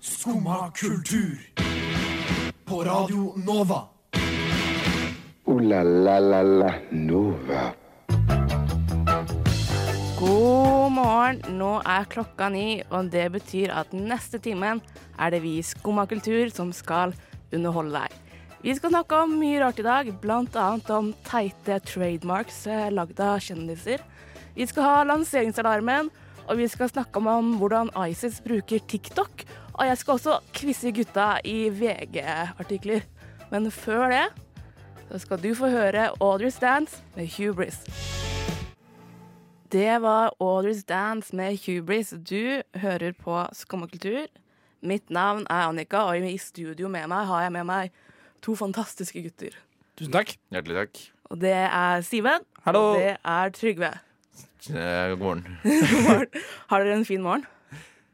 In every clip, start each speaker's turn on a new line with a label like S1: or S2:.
S1: Skumma kultur. På Radio Nova.
S2: Ooh la la la la Nova.
S3: God morgen. Nå er klokka ni, og det betyr at den neste timen er det vi i Skumma kultur som skal underholde deg. Vi skal snakke om mye rart i dag, bl.a. om teite trademarks eh, lagd av kjendiser. Vi skal ha lanseringsalarmen, og vi skal snakke om, om hvordan ISIS bruker TikTok. Og jeg skal også quize gutta i VG-artikler. Men før det så skal du få høre Audrey Stance med Hubris. Det var Audrey's Dance med Hubris. Du hører på Skummakultur. Mitt navn er Annika, og i studio med meg har jeg med meg to fantastiske gutter.
S4: Tusen takk.
S5: Hjertelig takk.
S3: Og det er Simen.
S4: Hallo.
S3: Og det er Trygve.
S5: Eh, God morgen.
S3: God morgen. Har dere en fin morgen?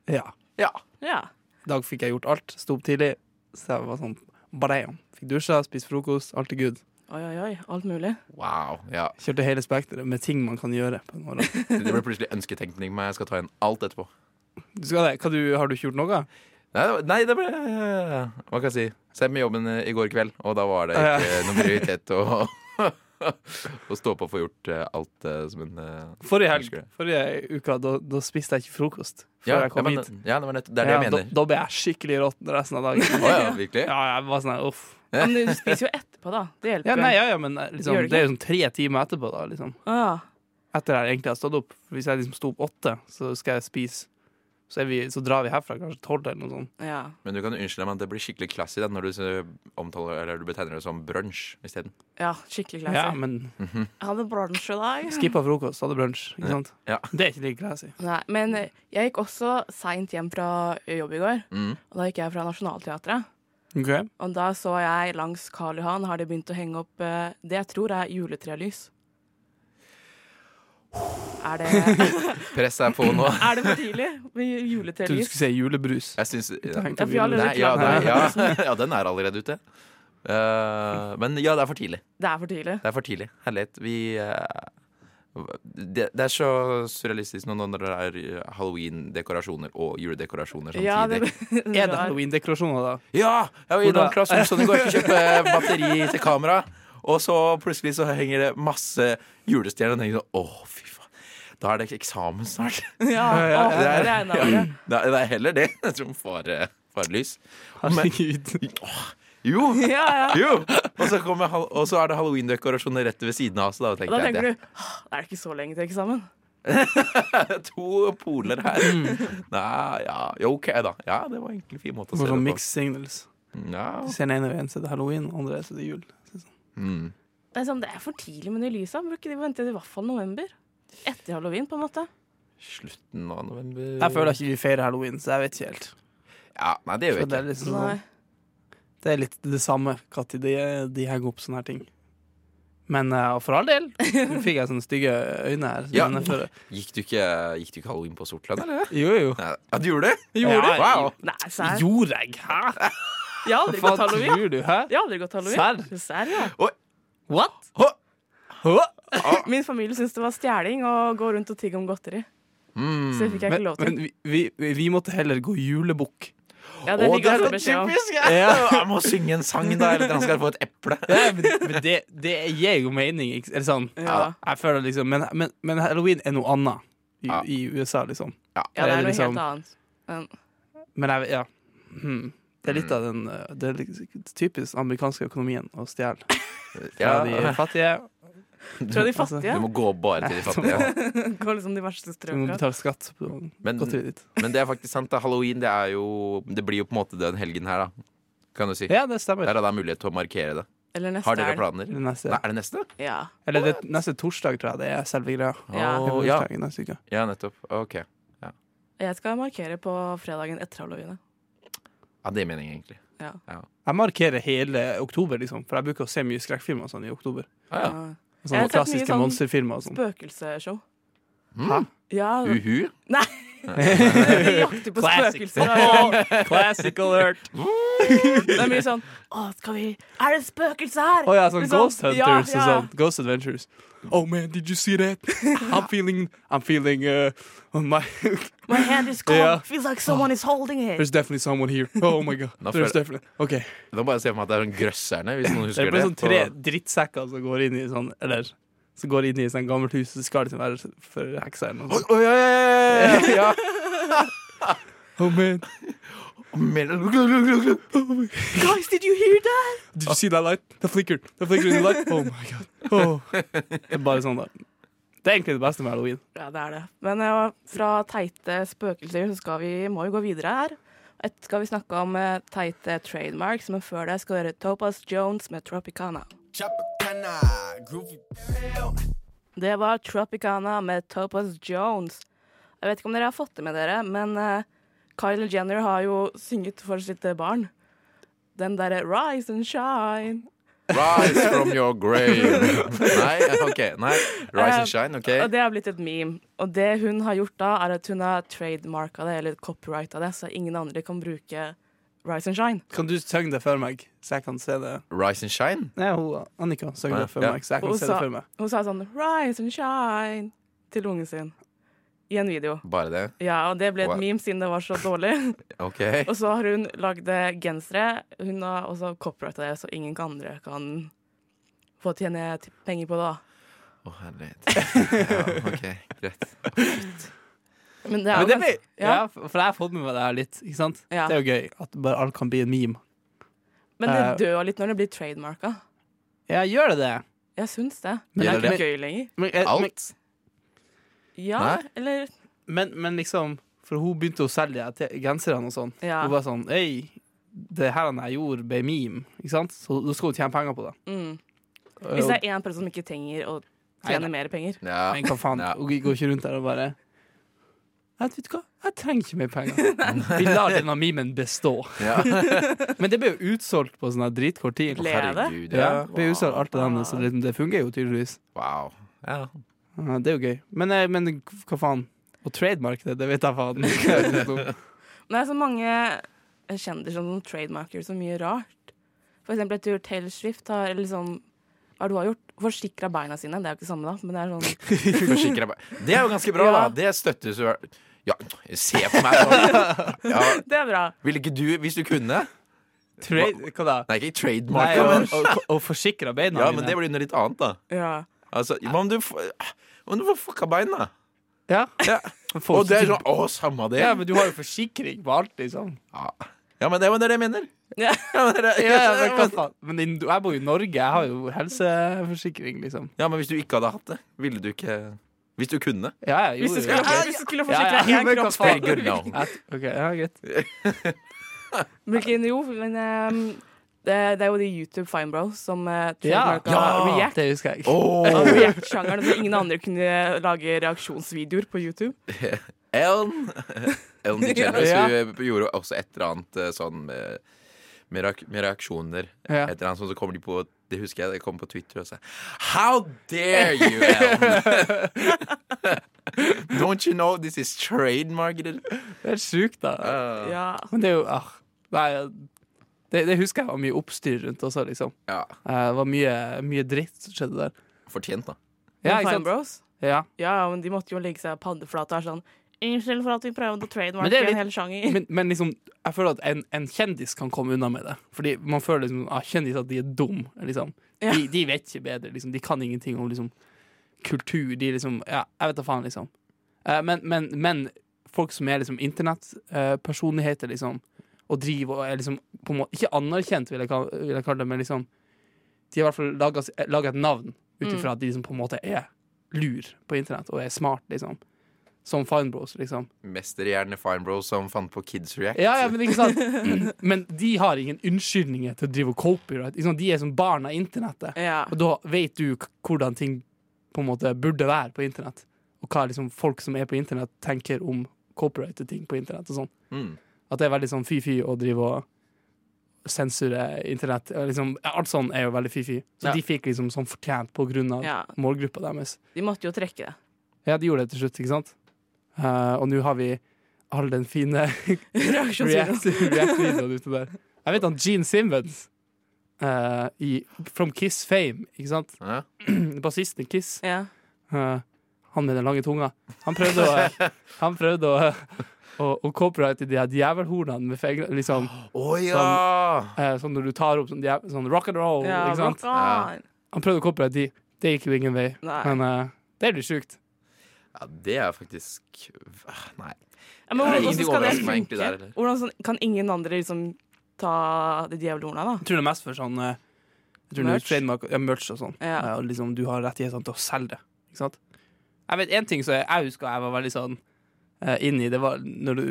S4: Ja.
S3: Ja.
S4: I dag fikk jeg gjort alt. Sto opp tidlig. Så jeg var sånn bam. Fikk dusja, spist frokost. Alt er good.
S3: Oi, oi, oi. Alt mulig.
S5: Wow. Ja.
S4: Kjørte hele spekteret med ting man kan gjøre på en morgen.
S5: Det ble plutselig ønsketenkning, men jeg skal ta igjen alt etterpå.
S4: Du skal det. Hva du, har du ikke gjort noe?
S5: Nei, det var- nei, det ble eh, Hva kan jeg si? Sett med jobben eh, i går kveld, og da var det ikke noen prioritet å, å stå på og få gjort eh, alt eh, som en eh,
S4: Forrige helg,
S5: Husker det.
S4: forrige uka, da, da spiste jeg ikke frokost. Før
S5: ja,
S4: jeg kom
S5: ja, men,
S4: hit.
S5: ja, det var nett, det er det jeg
S4: Ja,
S5: mener.
S4: Da, da ble jeg skikkelig råtten resten av dagen.
S5: Å ja, virkelig?
S4: Ja, jeg var sånn her, uff.
S3: Men du spiser jo etterpå, da. Det hjelper.
S4: Ja, nei, ja, ja, men eh, liksom,
S3: Gjør det ikke?
S4: det er jo sånn tre timer etterpå, da. Liksom.
S3: Å, ja.
S4: Etter jeg egentlig har stått opp. Hvis jeg liksom sto opp åtte, så skal jeg spise. Så, er vi, så drar vi herfra kanskje tolv eller noe sånt.
S3: ja.
S5: Men du kan unnskylde meg, men det blir skikkelig classy da, når du, eh, omtaler, eller du betegner det som brunsj isteden.
S3: Ja, skikkelig classy.
S4: Ja, men
S3: Jeg hadde bransje i dag.
S4: Skippa frokost, hadde brunsj. Ikke sant?
S5: Ja.
S4: Det er ikke like classy.
S3: Nei, men jeg gikk også seint hjem fra jobb i går.
S5: Mm.
S3: Og da gikk jeg fra Nationaltheatret. Og da så jeg langs Karl Johan har de begynt å henge opp eh, det jeg tror er juletrelys. Er det,
S5: Press er på nå.
S3: er det for tidlig med
S4: Jeg trodde du
S3: juletrelys?
S4: skulle si julebrus.
S5: Jeg syns
S4: Jeg
S3: Ja,
S4: tenkte
S3: for jeg har
S4: jule-
S3: allerede-
S5: Nei, ja, det, ja, ja, den er allerede ute. Eh, men ja, det er for tidlig.
S3: Det er for tidlig.
S5: Det er for tidlig. Herlighet. Vi eh, det, det er så surrealistisk nå når det er eh, halloween-dekorasjoner og juledekorasjoner
S3: Ja, det,
S5: samtidig.
S4: Er det halloween-dekorasjoner, da?
S5: Ja! Jeg var innom
S4: Hvordan?
S5: Claes Olsson i sånn? går og kjøpte batteri til kamera, og så plutselig så henger det masse julestjerner, og tenker sånn Å, fy faen. Da er det eksamen snart.
S3: ja, å,
S5: Det er,
S3: det er en av det.
S5: det er- det er heller det som eh, fare, farelys.
S4: Herregud.
S5: Jo!
S3: Ja, ja.
S5: Jo! Og så, kommer hal- og så er det halloween-dekorasjoner rett ved siden av. Så da
S3: Og da
S5: tenker jeg at
S3: tenker du «Åh, det er ikke så lenge til eksamen.
S5: det er to poler her.
S4: Mm.
S5: Nei, ja, jo, OK, da. Ja, det var egentlig en fin måte å
S4: Bare
S5: se
S4: sånn
S5: det på.
S4: mixed signals.
S5: Ja.
S4: Du ser den ene veien, så er det halloween, den andre så er det jul.
S5: Mm.
S3: Det er, sånn, det er for tidlig med de lysa. Burde ikke de vente til i hvert fall november? Etter halloween, på en måte.
S5: Slutten av november
S4: Jeg føler ikke vi feirer halloween, så jeg vet ikke helt.
S5: Ja, Nei, det gjør
S4: Så
S5: vi
S4: det
S5: ikke.
S4: er liksom
S3: Nei.
S4: sånn Det er litt det samme når de, de henger opp sånne her ting. Men eh, for all del nå fikk jeg sånne stygge øyne her.
S5: Ja.
S4: Men for,
S5: Gikk du ikke, gikk du ikke halloween på Sortland, eller?
S4: jo, jo.
S5: Nei. Ja, du gjorde det?
S4: Gjorde du?
S5: wow.
S3: Nei, serr.
S4: Gjorde jeg? Hæ?
S3: Jeg har aldri
S4: Hva
S3: gått halloween.
S4: tror du? Hæ?
S3: Jeg har aldri gått halloween. Serr, ja.
S4: What?
S5: Hå!
S4: Ah.
S3: Min familie syntes det var stjeling å gå rundt og tigge om godteri. Så det fikk jeg ikke
S4: Hmm. Men,
S3: lov
S4: men
S3: til.
S4: vi, vi, vi måtte heller gå julebukk.
S3: Ja, det
S5: Å,
S3: fikk jeg
S5: er
S3: også
S5: så
S3: beskjed om.
S5: typisk! Ja. Jeg må synge en sang, da, eller at han skal få et eple.
S4: Ja, men men det, det gir jo mening, ikke er det sånn?
S3: Ja.
S4: Jeg føler liksom, men, men, men halloween er noe annet i,
S5: Ja.
S4: i USA, liksom.
S3: Ja, det
S4: Det er
S3: er noe
S4: liksom-
S3: helt annet. Men,
S4: Men jeg, ja. Hmm. Det er litt av den eh, Det er liksom typisk amerikanske økonomien å stjele fra de
S5: Ja,
S4: fattige.
S3: tror jeg de
S4: Altså,
S3: fattige
S5: du må gå bare til de fattige.
S3: går liksom de verste
S4: Du må
S3: strøka.
S4: betale skatt på
S5: Men-
S4: godteriet ditt.
S5: Men det er faktisk sant. da Halloween det er jo Det blir jo på en måte den helgen her, da. Kan du si.
S4: Ja, det stemmer.
S5: Der er det mulighet til å markere det.
S3: Eller neste
S5: Har dere
S3: helg.
S5: planer?
S4: Det
S5: Nei,
S4: neste,
S5: er det neste?
S3: Ja.
S4: eller det, neste torsdag, tror jeg det er selve greia.
S3: Ja.
S5: Å,
S4: Selve
S5: ja.
S4: torsdagen neste uke.
S5: ja, nettopp. Ok.
S3: Jeg skal markere på fredagen etter halloween.
S5: Ja, det er meningen, egentlig.
S3: Ja.
S4: Jeg markerer hele oktober, liksom, for jeg bruker å se mye skrekkfilmer og sånn i oktober.
S5: Ah, ja.
S3: Ja. Jeg
S4: Sånne
S3: har sett mye
S4: klassiske
S3: sånn
S4: monsterfilmer og sånn.
S3: Spøkelsesshow.
S5: Mm.
S3: Ja.
S5: Uhu.
S3: Nei. Vi jakter på
S4: Classic.
S3: spøkelser. og-
S4: Classic alert.
S3: Det er mye sånn Å, skal vi Er det spøkelser her?
S4: Å ja, sånn
S3: Liksom,
S4: Ghost Hunters
S3: ja,
S4: og
S3: ja.
S4: sånn. Ghost Adventures. Oh man, did you see that? I'm feeling I'm feeling uh, oh my
S3: My hand is cold.
S4: Ja.
S3: Feels like someone is holding it.
S4: There's definitely someone here. Oh my god.
S5: Da
S4: There's
S5: føler-
S4: definitely Ok.
S5: Nå bare se for meg at det er sånn grøsserne, hvis noen
S4: Det
S5: husker
S4: blir
S5: det.
S4: sånn tre drittsekker som går inn i sånn Eller som går inn i sånn gammelt hus, så skal liksom være for heksa eller noe sånt.
S5: På- Oi, oi, oi, oi, oi, oi, ja.
S4: Oh man,
S5: Men-
S3: Guys, did you hear that?
S4: did you see that light? The flickered. The flickered in the light. Oh my god. Oh. Det er bare sånn, da. Det er egentlig det beste med halloween.
S3: Ja, det er det. Men eh, fra teite spøkelser så skal vi, må vi gå videre her. Et skal vi snakke om eh, teite trademarks, men før det skal vi høre Topaz Jones med Tropicana.
S1: Chapacana, groovy
S3: Det var Tropicana med Topaz Jones. Jeg vet ikke om dere har fått det med dere, men eh, Kylie Jenner har jo synget for sitt eh, barn. Den derre 'Rise and Shine'.
S5: Rise from your grave. Nei, ok. Nei. Rise and shine,
S3: Og
S5: ok.
S3: det har blitt et meme. Og det hun har gjort da, er at hun har trademarka det, eller copyrighta det, så ingen andre kan bruke Rise and Shine.
S4: Kan du synge det for meg, så jeg kan se det?
S5: Rise and shine?
S4: Nei, hun, Annika sang
S5: Nei,
S4: det for
S5: ja.
S4: meg, så jeg kan
S3: Hun
S4: se det
S3: sa,
S4: for meg.
S3: hun sa sånn 'Rise and Shine' til ungen sin. I en video.
S5: Bare det?
S3: Ja, og det ble et
S5: Wow.
S3: meme siden det var så dårlig.
S5: Ok.
S3: Og så har hun lagd eh, gensere. Hun har også copyrighta det, så ingen andre kan få tjene t- penger på det. da.
S5: Å, herlighet. Ja, ok, greit.
S3: Men det er jo
S4: Men det
S3: ganske-
S4: blir, ja.
S3: ja.
S4: for jeg har fått med meg det her litt, ikke sant?
S3: Ja.
S4: Det er jo gøy at bare alt kan bli en meme.
S3: Men det dør litt når det blir trademarka.
S4: Ja, gjør det det?
S3: Jeg syns det. Men
S4: Men
S3: det er
S5: gjør det
S3: ikke gøy lenger.
S4: Men, eh, men,
S5: Alt?
S3: Ja,
S5: Nei.
S3: eller
S4: men, men liksom, for hun begynte å selge te- genserne og sånn.
S3: Ja.
S4: Hun var sånn, ei, det her han jeg gjorde ble meme, ikke sant? Så da skal hun tjene penger på det.
S3: Mm.
S4: Og-
S3: Hvis det er én person som ikke trenger å tjene mer penger.
S5: Ja.
S4: Men hva faen,
S5: Ja.
S4: hun går ikke rundt der og bare, jeg vet du hva, jeg trenger ikke mer penger. Vi lar denne memen bestå.
S5: Ja.
S4: Men det ble jo utsolgt på sånn her dritkort tid.
S3: Ble-
S5: Herregud,
S4: Ja,
S5: ja.
S4: det ble utsolgt alt det der, så det, liksom, det fungerer jo tydeligvis.
S5: Wow. Ja.
S4: Ja, det er jo gøy. Men, eh, men hva faen? Å trademarke det, det vet jeg faen ikke.
S3: Men det er så mange kjendiser som trademarker så mye rart. For eksempel, jeg tror Taylor Swift har eller liksom Hva er det hun har gjort? Forsikra beina sine. Det er jo ikke det samme, da, men det er sånn
S5: Forsikrer meg. Det er jo ganske bra,
S3: Ja.
S5: da. Det støttes jo. Ja, se på meg nå. Ja.
S3: Det er bra.
S5: Ville ikke du, hvis du kunne
S4: Trade, hva da?
S5: Nei, ikke
S4: Nei,
S5: trademark.
S4: å,
S5: men-
S4: å, å forsikre beina
S5: Ja,
S4: mine.
S5: men det blir jo noe litt annet, da.
S3: Ja.
S5: Altså, hva om du f- om du får fucka bein, da?
S4: ja.
S5: Ja.
S4: Men folk-
S5: Og det er sånn Å, samme det.
S4: ja, men du har jo forsikring på alt, liksom.
S5: Ja, ja men det var det jeg mener.
S3: Ja.
S5: Ja, men, det,
S4: Ja, ja, men hva faen? Men i- jeg bor jo i Norge, jeg har jo helseforsikring, liksom.
S5: ja, men hvis du ikke hadde hatt det, ville du ikke Hvis du kunne.
S4: Ja, ja, jo,
S3: Hvis du
S4: jo,
S3: skulle,
S4: ja.
S3: hvis du skulle
S4: Ja, ja,
S3: forsikre én
S4: men hva
S3: kropp
S4: faen?
S5: Very good now.
S4: Jeg- Ok, ja, greit.
S3: Hvilken jo, men ehm, det, det er jo de YouTube Fine Bros som uh,
S4: Ja,
S3: trademarka React.
S4: det husker jeg.
S5: Oh,
S3: av React-sjangeren, så ingen andre kunne lage reaksjonsvideoer på YouTube.
S5: Ellen Ellen DeGeneres
S4: Ja.
S5: Hun eh, gjorde også et eller annet eh, sånn med, med, reak med reaksjoner.
S4: Ja.
S5: Et eller annet sånn, så kommer de på Det husker jeg, det kom på Twitter og sa How dare you, Ellen! Don't you know this is trademarketed?
S4: Det er sjukt, da.
S5: Uh,
S3: Ja.
S4: Men det er jo ah, Nei, det, det husker jeg var mye oppstyr rundt også, liksom.
S5: ja.
S4: Eh, Det var mye, mye dritt som skjedde der.
S5: Fortjent, da.
S4: Ja, ikke
S3: Fine
S4: sant?
S3: Bros.
S4: Ja.
S3: Ja, men de måtte jo legge seg paddeflate og være sånn Unnskyld for at vi prøvde å
S4: Men
S3: trademarke
S4: det er litt-
S3: en hel sjanger.
S4: Men, men liksom, jeg føler at en, en kjendis kan komme unna med det. Fordi man føler liksom, ah, kjendiser at de er dum liksom.
S3: Ja.
S4: de, de vet ikke bedre. Liksom. De kan ingenting om liksom, kultur. De liksom, ja, jeg vet da faen, liksom. Eh, men, men, men folk som er liksom, internettpersonligheter, liksom, og driver og er liksom, på en måte, Ikke anerkjent, vil jeg, kal- vil jeg kalle det, men liksom, de har i hvert fall laga s- laga et navn ut ifra at de liksom, på en måte er lur på internett og er smart, liksom. Som Fine Bros, liksom.
S5: Mesterhjerne Fine Bros som fant på Kids React.
S4: Ja, ja, men ikke sant Men de har ingen unnskyldninger til å drive og copyright. Ikke sant? De er som barn av internettet.
S3: Ja.
S4: Og da vet du k- hvordan ting på en måte burde være på internett. Og hva liksom folk som er på internett, tenker om copyrighted ting på internett. og sånn
S5: Mm.
S4: At det er veldig sånn fy-fy å drive og sensure internett. og Liksom, alt sånn er jo veldig fy-fy. Så
S5: Ja.
S4: de fikk liksom sånn fortjent på grunn av
S3: Ja.
S4: målgruppa deres.
S3: De måtte jo trekke det.
S4: Ja, de gjorde det til slutt, ikke sant? Eh, og nå har vi all den fine
S3: Reaksjonsvideo.
S4: react-videoen ute der. Jeg vet han Gene Simmons eh, i From Kiss Fame, ikke sant?
S5: Ja.
S4: Bassisten i Kiss.
S3: Ja.
S4: Eh, han med den lange tunga. Han prøvde å, han prøvde å, å, å copyrighte de her djevelhornene med fingrene. Liksom,
S5: Å, ja!
S4: eh, sånn når du tar opp sånn, djev- sånn rock and roll.
S3: ja
S4: ikke sant?
S3: rock on.
S4: Han prøvde å copyrighte de. Det gikk jo ingen vei.
S3: Nei.
S4: Men eh, det er litt sjukt.
S5: ja, det er faktisk ah, Nei.
S3: Ja, men hvordan, hvordan skal det
S5: Ingenting overrasker meg egentlig
S3: funke?
S5: der, eller?
S3: hvordan sånn- kan ingen andre liksom ta de djevelhorna, da?
S4: Jeg tror det er mest for sånn eh, jeg tror det er
S3: Merch?
S4: trademark, ja, merch og sånn.
S3: Ja.
S4: Eh, og liksom, du har rettighetene til å selge det. Ikke sant? Jeg vet en ting som jeg, jeg husker jeg var veldig sånn uh, inni, det var når du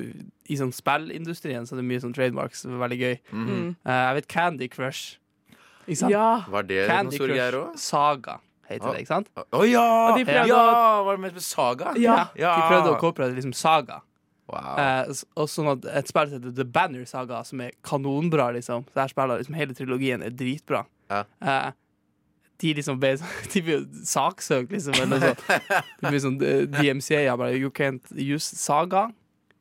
S4: I sånn spillindustrien så er det mye sånn trademarks som er veldig gøy.
S3: Mm.
S4: Eh, jeg vet Candy Crush. Ikke sant?
S3: Ja.
S5: Var det noen
S4: Candy
S5: store
S4: Crush
S5: greier òg?
S4: Saga heter
S5: Ah.
S4: det, ikke sant?
S5: Å ja!
S3: Og de
S5: Ja,
S3: prøvde
S5: var det med Saga?
S4: De prøvde å copyrighte liksom Saga.
S5: Wow.
S4: Eh, s- og sånn at et spill som heter The Banner Saga, som er kanonbra, liksom. Så her spiller liksom hele trilogien er dritbra.
S5: Ja.
S4: Eh, de liksom ble sånn- De ble jo saksøkt, liksom. Eller noe sånt. De ble sånn eh, DMCA bare You can't use Saga.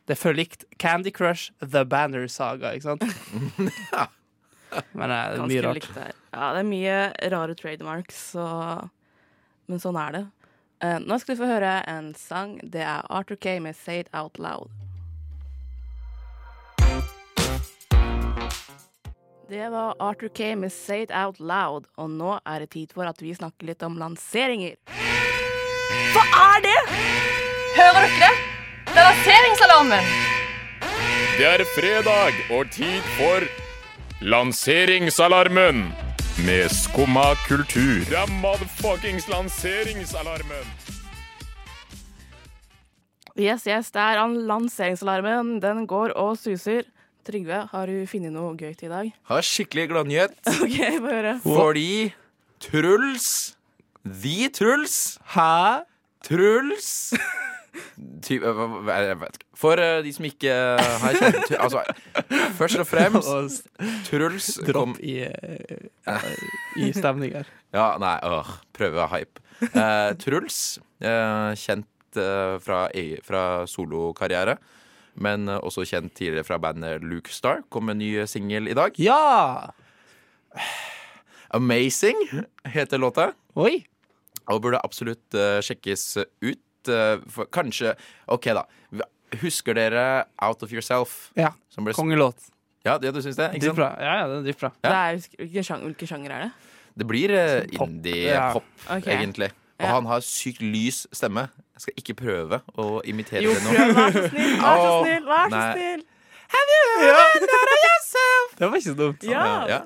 S4: Det er for likt Candy Crush, The Banner Saga, ikke sant? Men eh, det er mye
S3: Ganske
S4: rart.
S3: likt der. Ja, det er mye rare trademarks, så Men sånn er det. Eh, nå skal du få høre en sang. Det er Arthur Kay med 'Say It Out Loud'. Det var Arthur Kay med 'Say It Out Loud', og nå er det tid for at vi snakker litt om lanseringer.
S6: Hva er det? Hører dere det? Det er lanseringsalarmen.
S7: Det er fredag og tid for lanseringsalarmen med Skumma kultur. Det er motherfuckings lanseringsalarmen.
S3: Yes, yes, det er an- lanseringsalarmen. Den går og suser. Trygve, har du funnet noe gøy til i dag?
S5: Har skikkelig gladnyhet.
S3: OK, få høre.
S5: Fordi Truls The Truls
S4: Hæ?
S5: Truls Ty, hva- hva- hva- jeg vet ikke. For eh, de som ikke har kjent Tru- altså, Først og fremst
S4: Og s-
S5: Truls kom
S4: dropp i, eh, ja, i stemning her.
S5: Ja, nei, åh, prøve å hype Eh, Truls eh, Kjent eh, fra, e- fra solokarriere Men eh, også kjent tidligere fra bandet Luke Star Kom med en ny single i dag
S4: Ja!
S5: Amazing heter låta
S4: Oi!
S5: og burde absolutt eh, sjekkes ut. eh, for kanskje OK, da. Husker dere Out of Yourself?
S4: Ja.
S5: Som ble,
S4: Kongelåt.
S5: ja, det du syns det? Ikke sant?
S4: Dritbra. Ja, ja, den er dritbra.
S5: Ja.
S3: Det er, hvilken, sjanger, hvilken sjanger er det?
S5: Det blir eh,
S4: pop, ja.
S5: indie-pop,
S3: Ok.
S5: egentlig. Og
S3: Ja.
S5: han har sykt lys stemme. Jeg skal ikke prøve å imitere
S3: Jo,
S5: det nå.
S3: prøv, vær så snill, vær så
S5: Åh,
S3: snill! Vær så
S5: nei.
S3: snill.
S4: Det var ikke så dumt.
S3: Ja.
S5: Ja.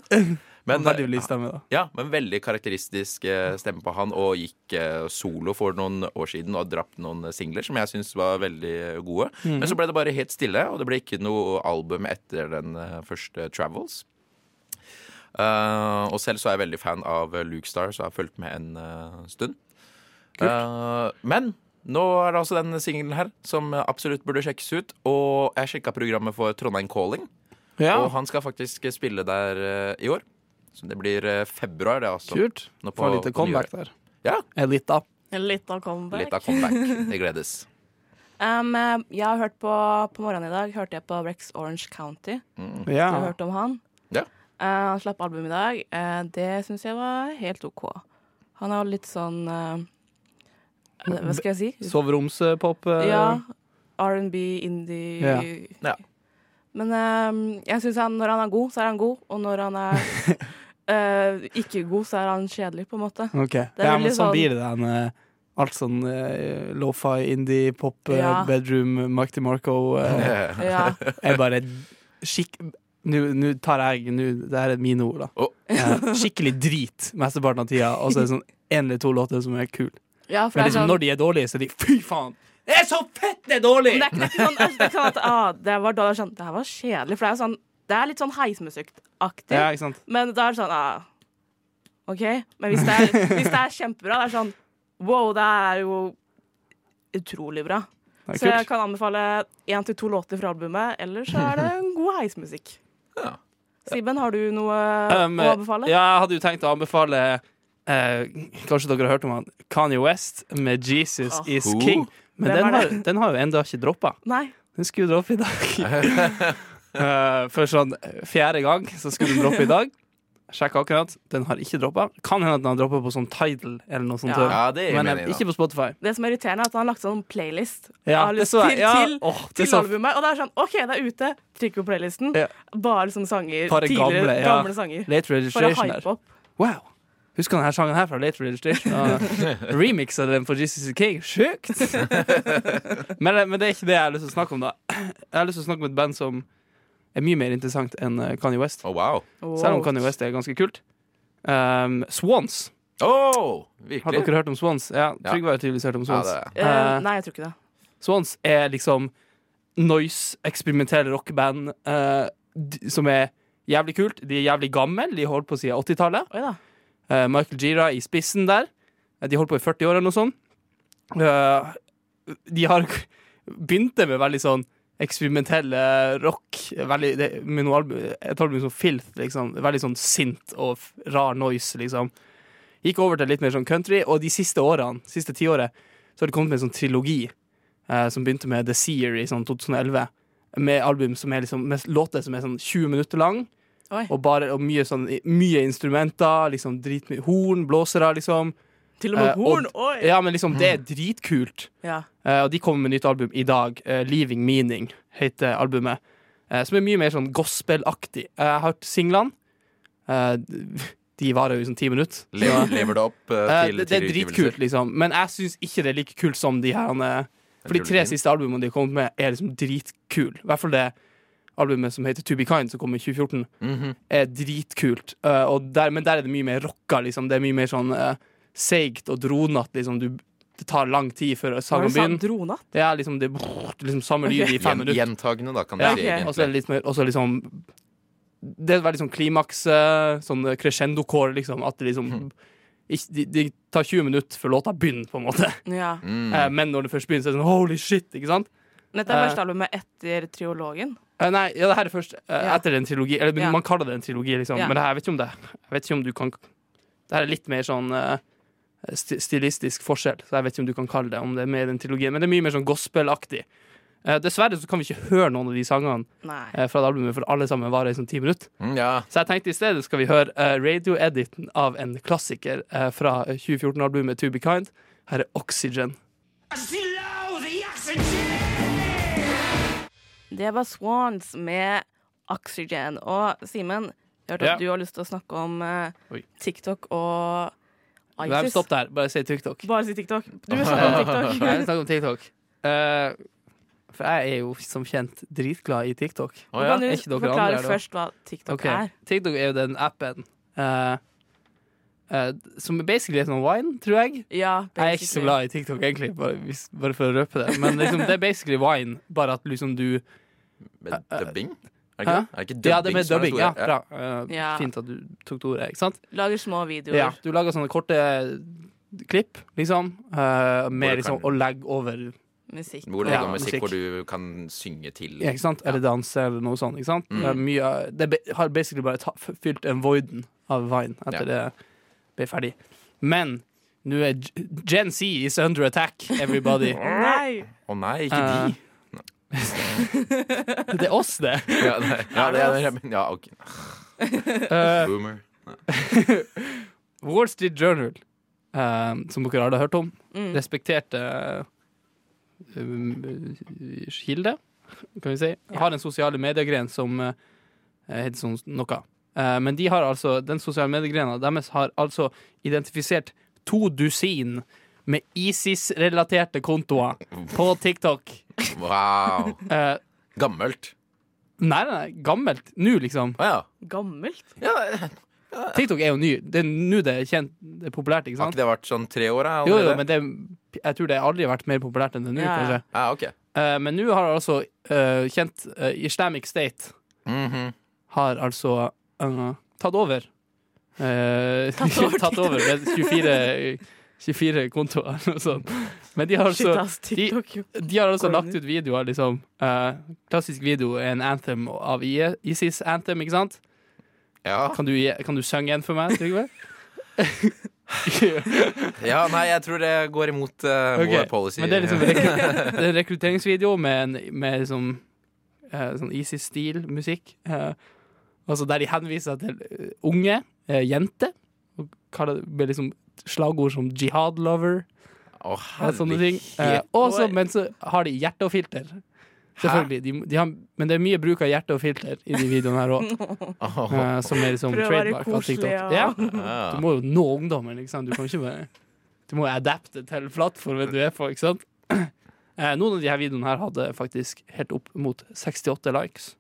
S5: Men,
S4: Veldig lys stemme, da.
S5: ja, men veldig karakteristisk eh, stemme på han, og gikk eh, solo for noen år siden og drapp noen eh, singler som jeg syns var veldig gode. Men så ble det bare helt stille, og det ble ikke noe album etter den eh, første Travels. Eh, og selv så er jeg veldig fan av eh, Luke Star, så jeg har fulgt med en eh, stund. Eh, men nå er det altså den singelen her som eh, absolutt burde sjekkes ut. Og jeg sjekka programmet for Trondheim Calling.
S4: Ah.
S5: Og han skal faktisk spille der eh, i år. Så det blir eh, februar, det, altså.
S4: Kult.
S5: Nå på-
S4: Får litt
S5: på
S4: comeback der.
S5: Ja.
S4: Eh, Litt, da.
S3: Litt av comeback.
S5: Litt av comeback. Det gledes.
S3: Um, eh, jeg har hørt på På morgenen i dag hørte jeg på Rex Orange County.
S4: Ja.
S5: Mm.
S3: Har du hørt om han?
S5: Ja.
S3: Eh, han slapp album i dag. Eh, det syns jeg var helt OK. Han er jo litt sånn eh, Hva skal jeg si?
S4: Soveromspop. eh,
S3: Ja. R&B, indie
S4: Ja.
S5: Ja.
S3: Men eh, jeg syns han, når han er god, så er han god. Og når han er eh, ikke god, så er han kjedelig, på en måte.
S4: Ok.
S3: er
S4: Ja, men
S3: veldig
S4: sånn
S3: sånn-
S4: blir det den eh, Alt sånn eh, lo-fi, indie, pop, eh,
S3: Ja.
S4: bedroom, Mike DeMarco eh,
S3: Ja.
S4: er bare skikk... Nå nå tar jeg nå, Det her er mine ord, da.
S5: Å.
S4: Eh, skikkelig drit mesteparten av tida, og så er det sånn én eller to låter som er kule.
S3: ja, for det
S4: Men
S3: er
S4: liksom,
S3: sånn
S4: når de er dårlige, så er de Fy faen! Det er så fett det er dårlig!
S3: Men det er ikke, det er ikke sånn, det er ikke sånn at ah, det var dårlig, sånn, det her var kjedelig. For det er, sånn, det er litt sånn heismusikkaktig.
S4: Ja, ikke sant?
S3: Men da er det sånn ah, OK. Men hvis det, er, hvis det er kjempebra, det er sånn wow, det er jo utrolig bra.
S4: Det er
S3: Så jeg
S4: kult.
S3: kan anbefale én til to låter fra albumet. Ellers så er det en god heismusikk.
S5: Ja.
S3: Siben, har du noe
S4: Um,
S3: å anbefale?
S4: Ja, jeg hadde jo tenkt å anbefale eh, Kanskje dere har hørt om han Kanye West med 'Jesus
S3: Ah.
S4: Is
S5: Who?
S4: King'. Men
S3: Hvem
S4: den
S3: er
S4: har,
S3: det?
S4: den har jo enda ikke droppa.
S3: Nei.
S4: Den skulle droppe i dag. Eh, for sånn fjerde gang så skulle den droppe i dag. Sjekka akkurat. Den har ikke droppa. Kan hende at den har droppa på sånn Tidal eller noe sånt.
S3: Ja.
S4: tøv.
S5: Ja, det gir
S4: Men eh,
S5: mening, da.
S4: ikke på Spotify.
S3: Det som er irriterende, er at han har lagt sånn playlist
S4: Ja,
S3: av
S4: det så
S3: til,
S4: jeg. Ja,
S3: til,
S4: åh, det
S3: til
S4: så-
S3: albumet. Og det er sånn OK, det er ute. Trykk på playlisten.
S4: Ja.
S3: Bare sånne sanger.
S4: Bare
S3: tidligere
S4: gamle,
S3: gamle,
S4: ja.
S3: sanger.
S4: Late
S3: For å
S4: registration her.
S3: hype opp.
S4: Wow. Husker du denne sangen her fra Late Registration? Og Remixer den for Jesus King. Sjukt! men, det- men det er ikke det jeg har lyst til å snakke om, da. Jeg har lyst til å snakke om et band som er mye mer interessant enn eh, Kanye West.
S5: Å, Oh, wow.
S4: Selv om Kanye West er ganske kult. Um, Swans.
S5: Åh,
S4: Har
S5: Oh, virkelig?
S4: dere hørt om Swans? Ja,
S5: Ja.
S4: Trygve har jo tydeligvis hørt om
S5: Ja,
S4: Swans.
S5: det er.
S3: Eh,
S4: Eh,
S3: nei, jeg tror ikke det.
S4: Swans er liksom noise, eksperimentelle rockeband eh, d- som er jævlig kult. De er jævlig gamle. De holdt på siden 80-tallet.
S3: Oi da.
S4: Eh, Michael Gira i spissen der. Eh, De holdt på i 40 år eller noe sånt. Eh, de har begynte med veldig sånn eksperimentell eh, rock. Veldig, det, med noe album, et album som Filth, liksom. Veldig sånn sint og f- rar noise, liksom. Gikk over til litt mer sånn country, og de siste årene, siste tiåret, så har det kommet med en sånn trilogi eh, som begynte med The Seer i sånn 2011. Med album som er liksom, med låter som er sånn 20 minutter lang
S3: Oi.
S4: og, bare, og mye, sånn, mye instrumenter, liksom dritmye horn, blåsere, liksom.
S3: Til og med
S4: Eh,
S3: horn.
S4: og-
S3: Oi!
S4: Ja, men liksom, det er dritkult.
S3: Ja.
S4: Eh, og de kommer med nytt album i dag. eh, 'Leaving Meaning' heter albumet. eh, som er mye mer sånn gospelaktig. Eh, jeg har hørt singlene. Eh, de varer jo sånn ti minutter.
S5: Lever, lever det opp eh,
S4: Eh,
S5: til
S4: det, det er
S5: tidligere
S4: dritkult, liksom. Men jeg syns ikke det er like kult som de her eh, For de tre
S5: trilogien.
S4: siste albumene de har kommet med, er liksom dritkule. I hvert fall det albumet som heter To Be Kind, som kom i 2014,
S5: Mhm.
S4: er dritkult. Eh, og der, men der er det mye mer rocka, liksom. Det er mye mer sånn eh, seigt og dronete, liksom. Du, det tar lang tid før
S3: Var
S4: sangen
S3: det sånn
S4: begynner.
S3: dronat?
S4: Det er liksom, det, liksom samme lyd i fem
S5: Gjen-
S4: minutter.
S5: Gjentagende, da, kan du
S4: Ja,
S5: si.
S3: ok.
S5: egentlig.
S4: Og så er det litt mer og så liksom Det er veldig sånn klimaks, eh, sånn crescendo-core, liksom. At det liksom ikke, de, de tar 20 minutter før låta begynner, på en måte.
S3: Ja.
S5: Mm.
S4: Eh, men når det først begynner, så er det sånn holy shit, ikke sant?
S3: Dette er
S4: Eh.
S3: første albumet etter Triologen.
S4: Eh, nei, ja, det her er først eh,
S3: Ja.
S4: etter en trilogi. Eller
S3: Ja.
S4: man kaller det en trilogi, liksom.
S3: Ja.
S4: Men det her, jeg vet ikke om det Jeg vet ikke om du kan Det her er litt mer sånn eh, sti- stilistisk forskjell, så jeg vet ikke om du kan kalle det om det er med i den trilogien. Men det er mye mer sånn gospelaktig. Eh, dessverre så kan vi ikke høre noen av de sangene
S3: Nei.
S4: eh, fra det albumet, for alle sammen varer i sånn ti minutter.
S5: Mm, ja.
S4: Så jeg tenkte i stedet skal vi høre eh, radioediten av en klassiker eh, fra 2014-albumet To Be Kind. Her er Oxygen.
S3: Det var Swans med Oxygen. Og Simen, jeg hørte at
S4: Ja.
S3: du har lyst til å snakke om eh,
S4: Oi.
S3: TikTok og
S4: Nei,
S3: ISIS.
S4: Stopp der, bare si TikTok.
S3: Bare si TikTok. Du snakker om TikTok.
S4: Jeg snakker om TikTok. Eh, for jeg er jo som kjent dritglad i TikTok.
S5: Å,
S3: Kan
S5: ja.
S3: du
S4: Er ikke dere
S3: forklare
S4: andre her, da?
S3: først hva TikTok
S4: Ok,
S3: er?
S4: TikTok er jo den appen eh, eh, som er basically heter wine, tror jeg.
S3: Ja,
S4: Jeg er ikke så glad i TikTok, egentlig, bare, hvis, bare for å røpe det. Men liksom, det er basically wine, bare at liksom du
S5: Med dubbing? Er det
S4: Eh, Hæ?
S5: ikke, det?
S4: Ja,
S5: er det ikke dubbing
S4: det er med
S5: som er det
S4: dubbing. Ja,
S5: store?
S4: bra. Eh,
S3: Ja.
S4: Fint at du tok det ordet, ikke sant?
S3: Lager små videoer.
S4: Ja, du lager sånne korte klipp, liksom, eh, med
S5: Hvor du
S4: liksom
S5: kan-
S4: å legge over
S3: Musikk.
S5: Hvor det er
S4: Ja,
S5: noe
S4: musikk.
S5: musikk hvor du kan synge til.
S4: ja, ikke sant? eller danse eller noe sånt. Ikke sant? Det, er mye, det be- har basically bare ta, fylt en voiden av Vine etter det ble ferdig. Men nå er G- Gen Z is under attack, everybody. Eh,
S3: Nei!
S5: Å nei, ikke de!
S4: det er oss, det.
S5: Ja, nei, ja, det er det. Ja, ok.
S4: Eh,
S5: Boomer.
S4: Wall Street Journal, eh, som dere alle har hørt om,
S3: Mm.
S4: respekterte um, kilde, kan vi si, har en sosiale mediegren som eh, heter sånn noe. Eh, men de har altså, den sosiale mediegrena deres har altså identifisert to dusin med ISIS-relaterte kontoer på TikTok.
S5: Wow.
S4: Eh,
S5: Gammelt.
S4: nei, nei, nei, gammelt. Nå, liksom.
S5: Å ja.
S3: Gammelt?
S4: TikTok er jo ny. Det er nå det er kjent, det er populært, ikke
S5: Har
S4: sant?
S5: ikke det vært sånn tre år? da,
S4: Jo, jo,
S5: allerede?
S4: men det, jeg tror det aldri har vært mer populært enn det nå,
S3: Ja.
S4: kanskje.
S5: Ja, Ah, ok.
S4: Eh, men nå har altså eh, kjent eh, Islamic State
S5: Mhm.
S4: har altså eh, tatt over. Eh,
S3: Tatt over
S4: tatt over med 24, 24 kontoer og sånn. Men de har
S3: Shit,
S4: altså
S3: ass. TikTok.
S4: de har altså
S3: Går
S4: lagt
S3: det
S4: ut videoer, liksom. eh, klassisk video er en anthem av I- ISIS Anthem, ikke sant?
S5: Ja.
S4: Kan du, kan du synge en for meg, Trygve?
S5: Ja, nei, jeg tror det går imot eh,
S4: Ok,
S5: vår policy.
S4: Men det er liksom rekru- det er en rekrutteringsvideo med, en, med liksom, eh, sånn ISIS-stil-musikk. eh, altså Der de henviser til eh, unge, eh, jenter, og kaller det med liksom slagord som 'jihad lover'
S5: Å,
S4: og sånne ting. Eh,
S5: herlighet.
S4: også, men så har de hjerte og filter. Selvfølgelig. De, de har, men det er mye bruk av hjerte og filter i de videoene her òg,
S5: Åh,
S4: som er liksom
S3: Prøv å være
S4: trademark fra TikTok.
S3: koselig, ja.
S4: Ja.
S5: ja.
S4: Du må jo nå ungdommen, ikke sant? Du kan ikke bare Du må adapte til plattformen du er på, ikke sant? Eh, Noen av de her videoene her hadde faktisk helt opp mot 68 likes.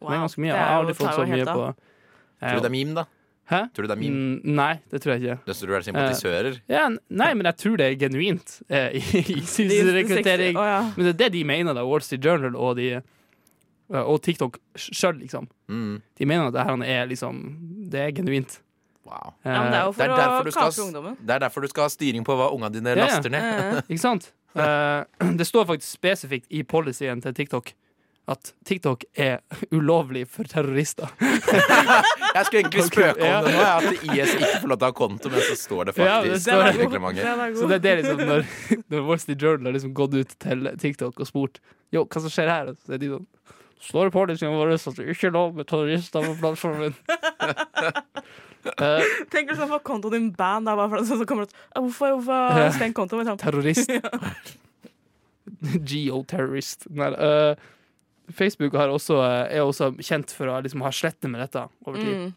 S4: det er ganske mye.
S3: det
S4: Jeg
S3: er
S4: har
S3: jo-
S4: aldri fått
S3: tar
S4: så
S3: jo helt
S4: mye
S3: av.
S4: på
S5: Tror du det er meme, da?
S4: Hæ?
S5: Tror du det er meme?
S4: Mm, Eh. nei, det tror jeg ikke.
S5: Jeg tror du er sympatisører?
S4: Ja, n- nei, men jeg tror det er genuint eh, i i
S3: De- de- de-
S4: rekruttering.
S3: Å, ja.
S4: Men det er det de mener, da. Wall Street Journal og, de, eh, og TikTok sjøl, liksom.
S5: Mm.
S4: De mener at det her er liksom Det er genuint.
S5: Wow.
S4: Eh,
S3: ja, men det er jo
S5: Det
S3: for
S5: er, derfor
S3: å
S5: du
S3: kake
S5: skal,
S3: ungdommen. Eh.
S5: det er derfor du skal ha styring på hva ungene dine
S4: Ja, ja.
S5: laster ned.
S4: Ikke sant? Eh, det står faktisk spesifikt i policyen til TikTok at TikTok er ulovlig for terrorister.
S5: Jeg skulle egentlig spøke
S4: Ja.
S5: om det nå, ja, at IS ikke får lov til å ha konto, men så står det
S4: Ja, det
S5: faktisk
S4: står-
S5: i reglementet.
S3: Den er
S4: Så
S3: god.
S4: det er det liksom når, når Wall Street Journal har liksom gått ut til TikTok og spurt Jo, hva som skjer her, så er de sånn Står i policyen vår at det ikke er lov med terrorister på plattformen. Eh,
S3: Tenk hvis man får kontoen din band da, bare for sånn som kommer ut «Ah, Hvorfor, hvorfor har du stengt kontoen min? Sånn,
S4: terrorist. Geoterrorist. Nei, eh, Facebook har også, eh, er også kjent for å liksom, ha slettet med dette over tid.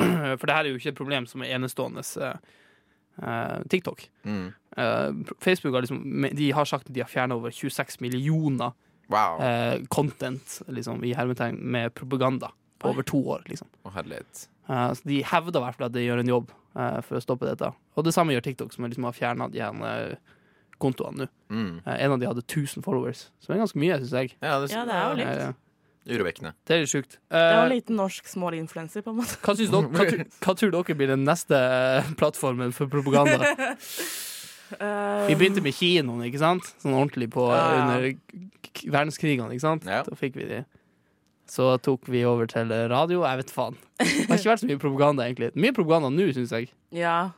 S3: Mm.
S4: For det her er jo ikke et problem som er enestående eh, eh, TikTok.
S5: Mm.
S4: Eh, Facebook har liksom De har sagt at de har fjerna over 26 millioner
S5: Wow.
S4: eh, content liksom, i hermetegn med propaganda på over to år. Liksom.
S5: Å, herlighet.
S4: Eh, så de hevder i hvert fall at de gjør en jobb eh, for å stoppe dette. Og det samme gjør TikTok, som liksom har fjerna de her eh, kontoene nå.
S5: Mm.
S4: Eh, en av de hadde 1000 followers, som er ganske mye, syns jeg.
S5: Ja, det,
S3: Ja, det er jo litt.
S4: Eh,
S5: Urovekkende.
S4: det er litt sjukt.
S3: Det er jo
S4: Eh,
S3: en liten norsk small influencer, på en måte.
S4: hva, syns dere, hva, tr- hva tror dere blir den neste eh, plattformen for propaganda? Vi
S3: Eh,
S4: begynte med kinoen, ikke sant? Sånn ordentlig på
S3: Ja, ja.
S4: under k- k- verdenskrigene, ikke sant?
S5: Ja.
S4: Da fikk vi de. Så tok vi over til radio. Jeg vet faen. Det har ikke vært så mye propaganda, egentlig. Mye propaganda nå, syns jeg.
S3: Ja.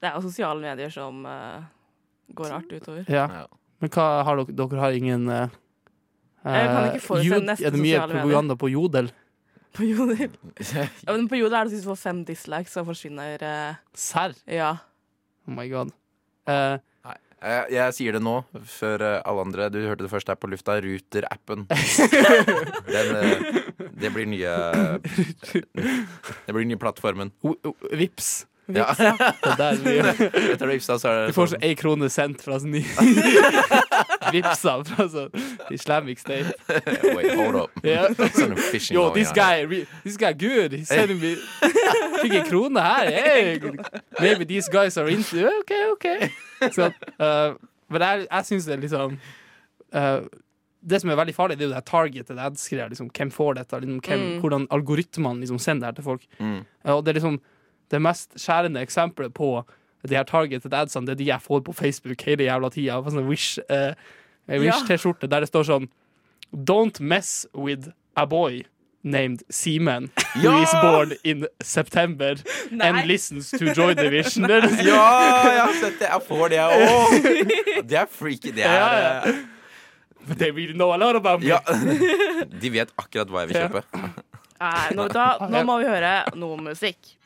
S3: Det er jo sosiale medier som eh, går hardt utover.
S4: Ja.
S5: Ja.
S4: Men hva har dere? Dere har ingen eh,
S3: Jeg kan ikke
S4: eh,
S3: forutse
S4: jod-
S3: neste
S4: Er det mye
S3: sosiale medier.
S4: propaganda på Jodel?
S3: På Jodel. Ja, men på Jodel er det hvis du får fem dislikes, så forsvinner eh,
S4: Serr?
S3: Ja.
S4: Oh my god. Eh,
S5: Jeg, jeg sier det nå, før eh, alle andre. Du hørte det først her på lufta. Ruter-appen. Den, eh, det blir nye eh, Det blir nye plattformen.
S4: o- o- vips.
S5: Ja.
S4: Det der vi
S5: Etter det vipsa, så er
S4: Du
S5: det
S4: får
S5: sånn.
S4: sånn ei krone sendt fra sånn Vipsa fra sånn Islamic State.
S5: eh, Wait, hold up.
S4: Ja.
S5: Sånn phishing
S4: Yo,
S5: going
S4: this
S5: on.
S4: guy, re- this guy good. He's sending me Fikk en krone her. Hey. Maybe these guys are into OK, OK. Så, eh, men jeg, jeg syns det er liksom eh, Det som er veldig farlig, det er jo det her targetet det ads-greia. Liksom, hvem får dette? Liksom, hvem, Hvordan algoritmene liksom, sender det her til folk.
S5: Mm.
S4: Eh, og det er liksom det mest skjærende eksempelet på de her targeted adsene, det er de jeg får på Facebook hele jævla tida. på Sånn wish, eh, en Wish-T-skjorte der det står sånn Don't mess with a boy named Seaman who is born in September and listens to Joy Division. Det er liksom-
S5: Ja, jeg har sett det. Jeg får det, jeg òg. Det er freaky. Det er
S4: Ja,
S5: eh,
S4: But they really know a lot about me.
S5: Ja. De vet akkurat hva jeg vil
S4: Ja.
S5: kjøpe.
S3: Nei, nå, da, nå må vi høre noe musikk.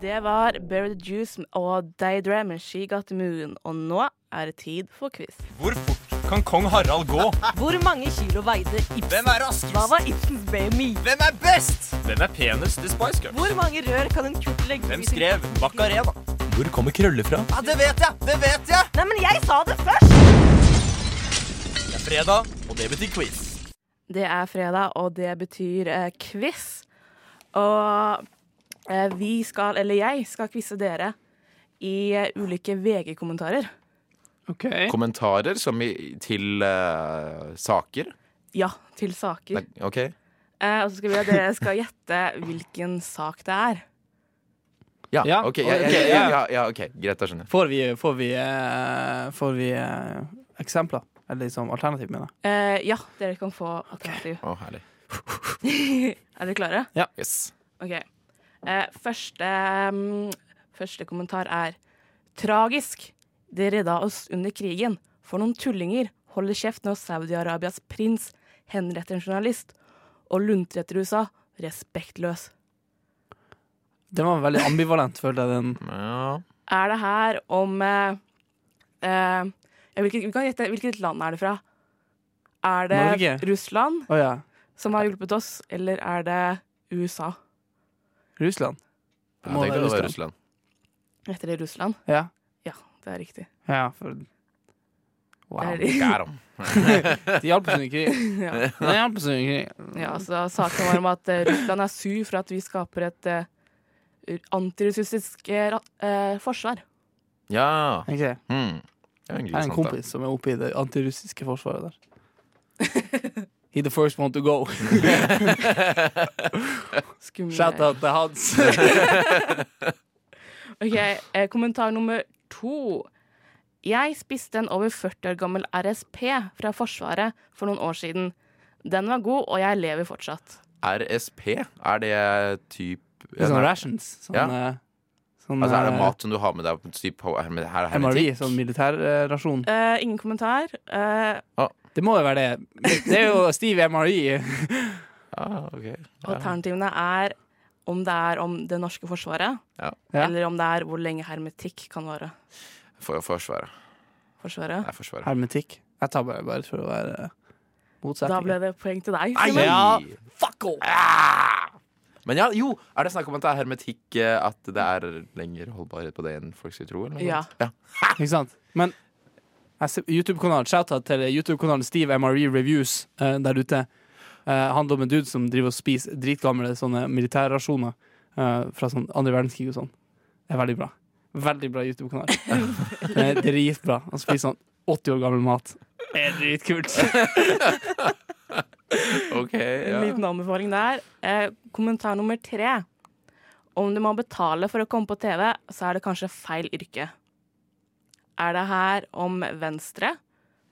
S3: Det var Bury the Juice og Daydream med She Got the Moon. Og nå er det tid for quiz.
S8: Hvor fort kan kong Harald gå?
S9: Hvor mange kilo veide Ibsen?
S8: Hvem er raskest?
S9: Hva var Ibsens BMI?
S8: Hvem er best? Hvem er penest i Spice Girls?
S9: Hvor mange rør kan en kutt legge
S8: Hvem
S9: i sin-
S8: skrev Macarena? Hvor kommer krøller fra? Ja, Det vet jeg! Det vet jeg!
S9: Nei, men jeg sa det først!
S8: Det er fredag, og det betyr quiz.
S3: Det er fredag, og det betyr eh, quiz. Og eh, vi skal, eller jeg, skal quize dere i eh, ulike VG-kommentarer.
S4: Ok.
S5: Kommentarer som i, til eh, saker.
S3: Ja, til saker.
S5: Nei, OK?
S3: Eh, og så skal vi at dere skal gjette hvilken sak det er.
S5: Ja,
S4: Ja,
S5: ok. Ja, ja,
S4: ok,
S5: ja,
S4: ja.
S5: ja, ja, ok. Greit, da skjønner jeg.
S4: Får vi, får vi, eh, får vi eh, eksempler? Eller liksom alternativ, mener jeg.
S3: Eh, ja, dere kan få alternativ.
S5: Å, herlig.
S3: Er dere klare?
S5: Yes.
S3: Ok. Eh, første, mm, første kommentar er Tragisk. Det redda oss under krigen. For noen tullinger holder kjeft når Saudi-Arabias prins henretter en journalist og luntretter USA respektløs.
S4: Den var veldig ambivalent, følte jeg. Den.
S5: Ja.
S3: Er det her om eh, eh, ja, hvilket, vi kan gjette, hvilket land er det fra? Er det
S4: Norge?
S3: Russland
S4: Å ja.
S3: som har hjulpet oss, eller er det USA?
S4: Russland. Det
S5: Jeg
S4: må
S5: tenkte det var
S4: være Russland.
S5: Russland.
S3: Heter det Russland?
S4: Ja.
S3: Ja, det er riktig.
S4: ja for... Wow.
S3: Det er,
S5: Got 'em.
S4: De hjalp oss under krigen.
S3: ja.
S4: De hjalp oss under krigen.
S3: ja, så saken var om at eh, Russland er sur for at vi skaper et eh, antirussisk eh, ra- eh, forsvar.
S5: Ja.
S4: Ok, Jeg
S5: Hmm. Det er egentlig
S4: har en
S5: sant, da.
S4: kompis som er oppe i det antirussiske forsvaret der. He the first one to go.
S3: Skummel
S4: Shout out til Hans.
S3: Ok, eh, kommentar nummer to. Jeg spiste en over 40 år gammel RSP fra Forsvaret for noen år siden. Den var god, og jeg lever fortsatt.
S5: RSP, er det typ
S4: Det er sånn rations. Sånn,
S5: Ja.
S4: eh, sånn,
S5: Altså er det
S4: eh,
S5: mat som du har med deg på typ, her, her, her,
S4: MRV, sånn militærrasjon.
S3: Eh, ingen kommentar. Eh,
S4: Det må jo være det. Det er jo stiv MRI.
S5: Ah, ok.
S3: alternativene er om det er om det norske forsvaret,
S5: Ja.
S4: Ja.
S3: eller om det er hvor lenge hermetikk kan vare.
S5: For, forsvaret.
S3: Forsvaret.
S5: Nei, forsvaret.
S4: Hermetikk. Jeg tar bare, bare for å være eh,
S3: Da
S4: motsetning.
S3: ble det poeng til deg.
S5: Nei,
S3: Simen.
S4: Ja.
S5: Fuck off! Ah! Men ja, jo, er det snakk om at det er hermetikk eh, At det er lenger holdbarhet på det enn folk skulle tro? Eller noe
S3: Ja.
S5: sånt?
S4: Ikke sant? Men jeg ser- YouTube-kanalen, shout-out til YouTube-kanalen Steve MRE Reviews eh, der ute. Eh, handler om en dude som driver og spiser dritgamle sånne militærrasjoner eh, fra sånn andre verdenskrig og sånn. Det er veldig bra. Veldig bra YouTube-kanal. Det er dritbra. Han spiser sånn 80 år gammel mat. Det er dritkult.
S5: Ja. Ok, ja.
S3: En liten anbefaling der. Eh, kommentar nummer tre. Om du må betale for å komme på TV, så er det kanskje feil yrke. Er det her om Venstre,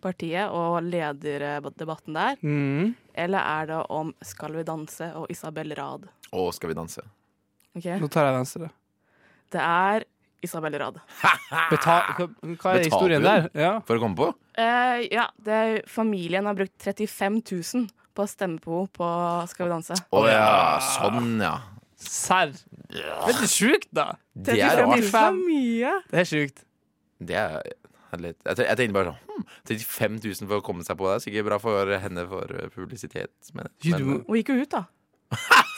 S3: partiet og lederdebatten der,
S4: Mm.
S3: eller er det om Skal vi danse og Isabel Rad?
S5: Å, skal vi danse?
S3: Ok,
S4: Nå tar jeg venstre.
S3: Det er Isabel Rad.
S4: Beta hva, hva er
S5: Betaler
S4: historien
S5: du?
S4: der? Ja.
S5: For å komme på?
S3: Eh, ja, det er, familien har brukt 35 000 på å stemme på henne på Skal vi danse.
S5: Å ja, sånn ja.
S4: Serr? Det er ikke sjukt, da!
S5: Det er rart.
S3: Det er mye!
S4: Det er sjukt.
S5: Det er er litt Jeg te- jeg tenkte bare sånn hmm, 35 000 for å komme seg på det er sikkert bra for henne for eh, publisitet. Men,
S4: Gud, du
S5: men
S4: må-
S3: Hun gikk jo ut, da.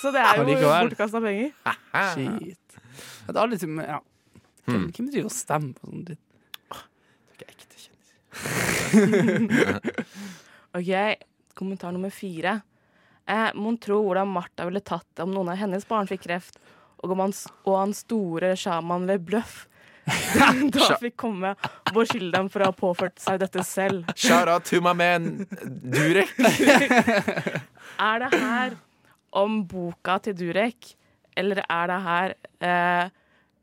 S3: Så det er jo
S4: Allikevel.
S3: bortkasta penger.
S4: Shit. Ja, Det er litt, men ja. Hvem,
S3: Hmm.
S4: hvem driver og stemmer på sånn dritt?
S5: ikke ekte kjendis.
S3: Ok, kommentar nummer fire. Eh, Mon tro hvordan Martha ville tatt det om noen av hennes barn fikk kreft, og, om han, s- og han store sjaman ved bløff da fikk komme og beskylde dem for å ha påført seg dette selv.
S5: eh, Shout out to my man Durek.
S3: Er det her om boka til Durek, eller er det her eh,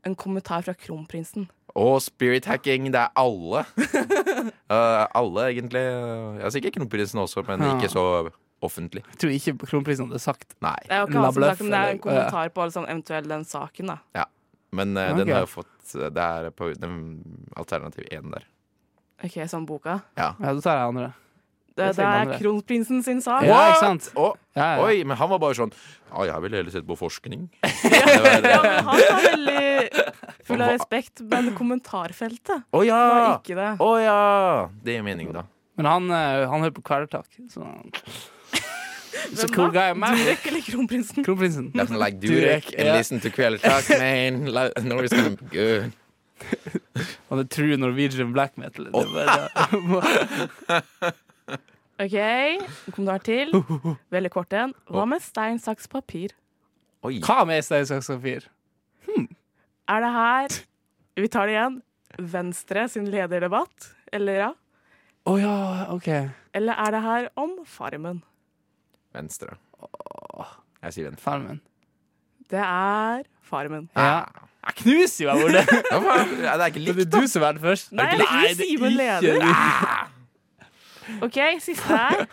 S3: en kommentar fra kronprinsen?
S5: Og spirit hacking, det er alle. Eh, alle, egentlig. Jeg sikkert kronprinsen også, men
S4: Ja.
S5: ikke så offentlig.
S4: Jeg tror ikke kronprisen hadde sagt
S3: Det
S5: Nei.
S3: er jo ikke han
S4: La
S3: som snakker,
S4: bløff,
S3: men det er en
S4: eller- ja.
S3: kommentar på liksom, eventuelt den saken, da.
S5: Men eh,
S4: Ok.
S5: den har jo fått Det er på den alternativ én der.
S3: Ok, sånn boka.
S4: Ja, da tar jeg andre.
S3: Det,
S4: Det
S3: det
S4: sier man
S3: er
S4: det.
S3: kronprinsen sin sak.
S4: Ja, ikke sant?
S5: Å,
S4: Ja, ja.
S5: Oi, men han var bare sånn Ja, jeg ville heller sett på forskning. Det var det.
S3: Ja, men han var veldig full av respekt, men kommentarfeltet
S5: Å ja!
S3: var ikke det.
S5: Å ja! Det gir mening, da.
S4: Men han, eh, han hører på Kvelertak. Så Så cool guy, man.
S3: Durek eller kronprinsen?
S4: Kronprinsen.
S5: Nothing like Durek and
S4: ja.
S5: listen to Kvelertak, man. Like, Norway's gonna be good.
S4: Han er true Norwegian black metal. Det var, det.
S3: OK, kommentar til. Veldig kort en. Hva med stein, saks, papir?
S5: Oi.
S4: Hva med Stein Saks Papir?
S3: Er det her Vi tar det igjen. Venstre sin lederdebatt, eller ja?
S4: Å ja, OK.
S3: Eller er det her om Farmen?
S5: Venstre. Jeg sier venstre.
S4: Farmen.
S3: Det er Farmen.
S4: Ja. Jeg knuser jo jeg borte!
S5: Hva faen? Ja, det er ikke
S4: Det
S5: likt,
S4: er
S5: da.
S4: du som er den først.
S3: Nei, det er ikke Simen leder. OK, siste her.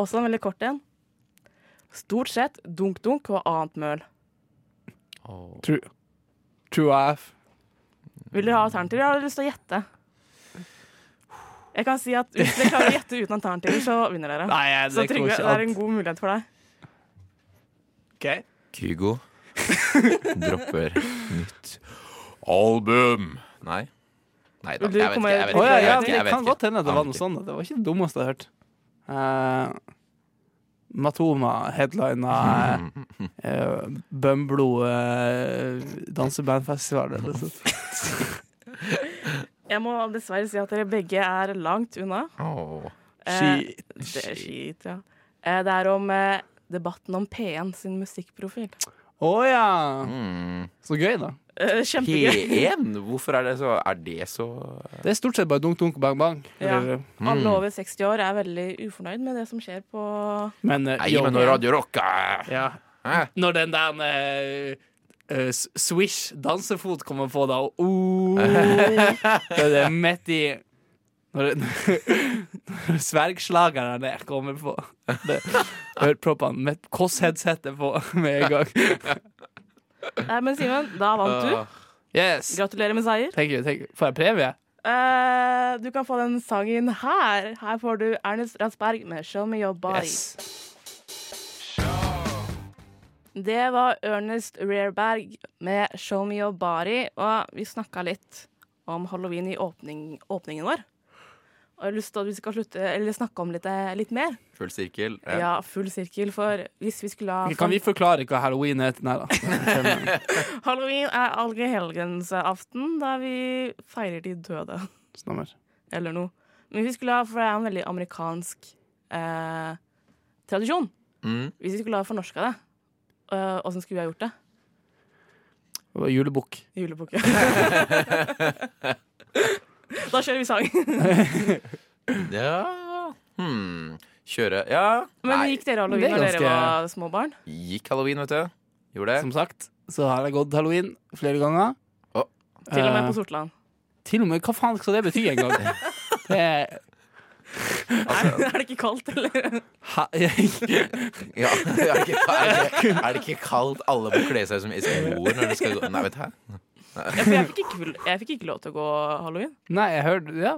S3: Også en veldig kort en. Stort sett dunk-dunk og annet møl.
S4: True, true AF.
S3: Vil dere ha alternativer? Jeg har lyst til å gjette. Jeg kan si at Hvis dere klarer å gjette uten alternativer, så vinner dere.
S4: Nei, jeg,
S3: så
S4: det går
S3: Trygve,
S4: ikke
S3: det er en
S4: an.
S3: god mulighet for deg.
S4: Ok.
S5: Kygo dropper nytt album. Nei. Nei da,
S3: Vil du
S5: jeg vet
S3: komme-
S5: ikke. Jeg vet
S4: Å
S5: ikke.
S4: ja, ja, det
S5: Jeg vet ikke. Jeg vet
S4: kan
S5: ikke.
S4: godt hende at det var
S5: Aner
S4: noe
S5: ikke.
S4: sånt. Det var ikke det dummeste jeg har hørt. Eh, Matoma headlina eh, eh, Bømblo eh, dansebandfestival eller noe sånt.
S3: Jeg må dessverre si at dere begge er langt unna.
S5: Åh.
S3: Eh, det er skit, ja. Eh, det er om eh, debatten om P1 sin musikkprofil.
S4: Å ja!
S5: Mm.
S4: Så gøy, da.
S3: Eh, kjempegøy.
S5: P1? Hvorfor er det så Er det så
S4: Det er stort sett bare dunk, dunk, bang, bang.
S3: Ja.
S4: Eller-
S3: Alle over 60 år er veldig ufornøyd med det som skjer på
S4: Men, eh,
S5: Nei,
S4: yo,
S5: men når Radio Rock eh,
S4: ja.
S5: Hæ?
S4: Når den der eh, eh, s- Swish dansefot kommer på, da og, oh, Det er det midt i Når, når svergslagerne kommer på det, Hørproppene med Koss-headsetet på med en gang.
S3: Nei, men Simen, da vant du.
S4: Yes!
S3: Gratulerer med seier.
S4: Thank you, thank you. Får jeg premie?
S3: Eh, du kan få den sangen her. Her får du Ernest Ratsberg med 'Show Me Your Body'.
S4: Yes.
S3: Det var Ernest Rearberg med 'Show Me Your Body'. Og vi snakka litt om halloween i åpning, åpningen vår. Og jeg har lyst til at vi skal slutte, eller snakke om litt, eh, litt mer.
S5: Full sirkel. eh.
S3: Ja, full sirkel. For hvis vi skulle ha
S4: Kan vi forklare hva halloween heter? Nei da.
S3: Halloween er allhelgensaften, da vi feirer de døde.
S4: Stemmer.
S3: eller noe. Men vi skulle ha, for det er en veldig amerikansk eh, tradisjon.
S5: Mm.
S3: Hvis vi skulle ha fornorska det, eh, åssen skulle vi ha gjort det?
S4: Det var Julebukk.
S3: Julebukke. da kjører vi sang.
S5: Ja hmm. Kjøre Ja.
S3: Men
S5: Nei,
S3: gikk dere halloween
S4: det er
S3: da dere
S4: ganske-
S3: var små barn?
S5: gikk halloween, vet du. Gjorde det.
S4: Som sagt, så har jeg gått halloween flere ganger.
S5: Å.
S3: Til og med
S4: Eh,
S3: på Sortland.
S4: Til og med, Hva faen skal det bety engang? Det er-
S3: er det ikke kaldt, eller?
S4: ha-
S5: Ja, er, det ikke, er, det ikke, er det ikke kaldt alle må kle seg som eskimoer når de skal gå Nei, vet du hæ?
S3: Ja, for jeg fikk ikke, jeg fikk ikke lov til å gå halloween.
S4: Nei, jeg hørte ja.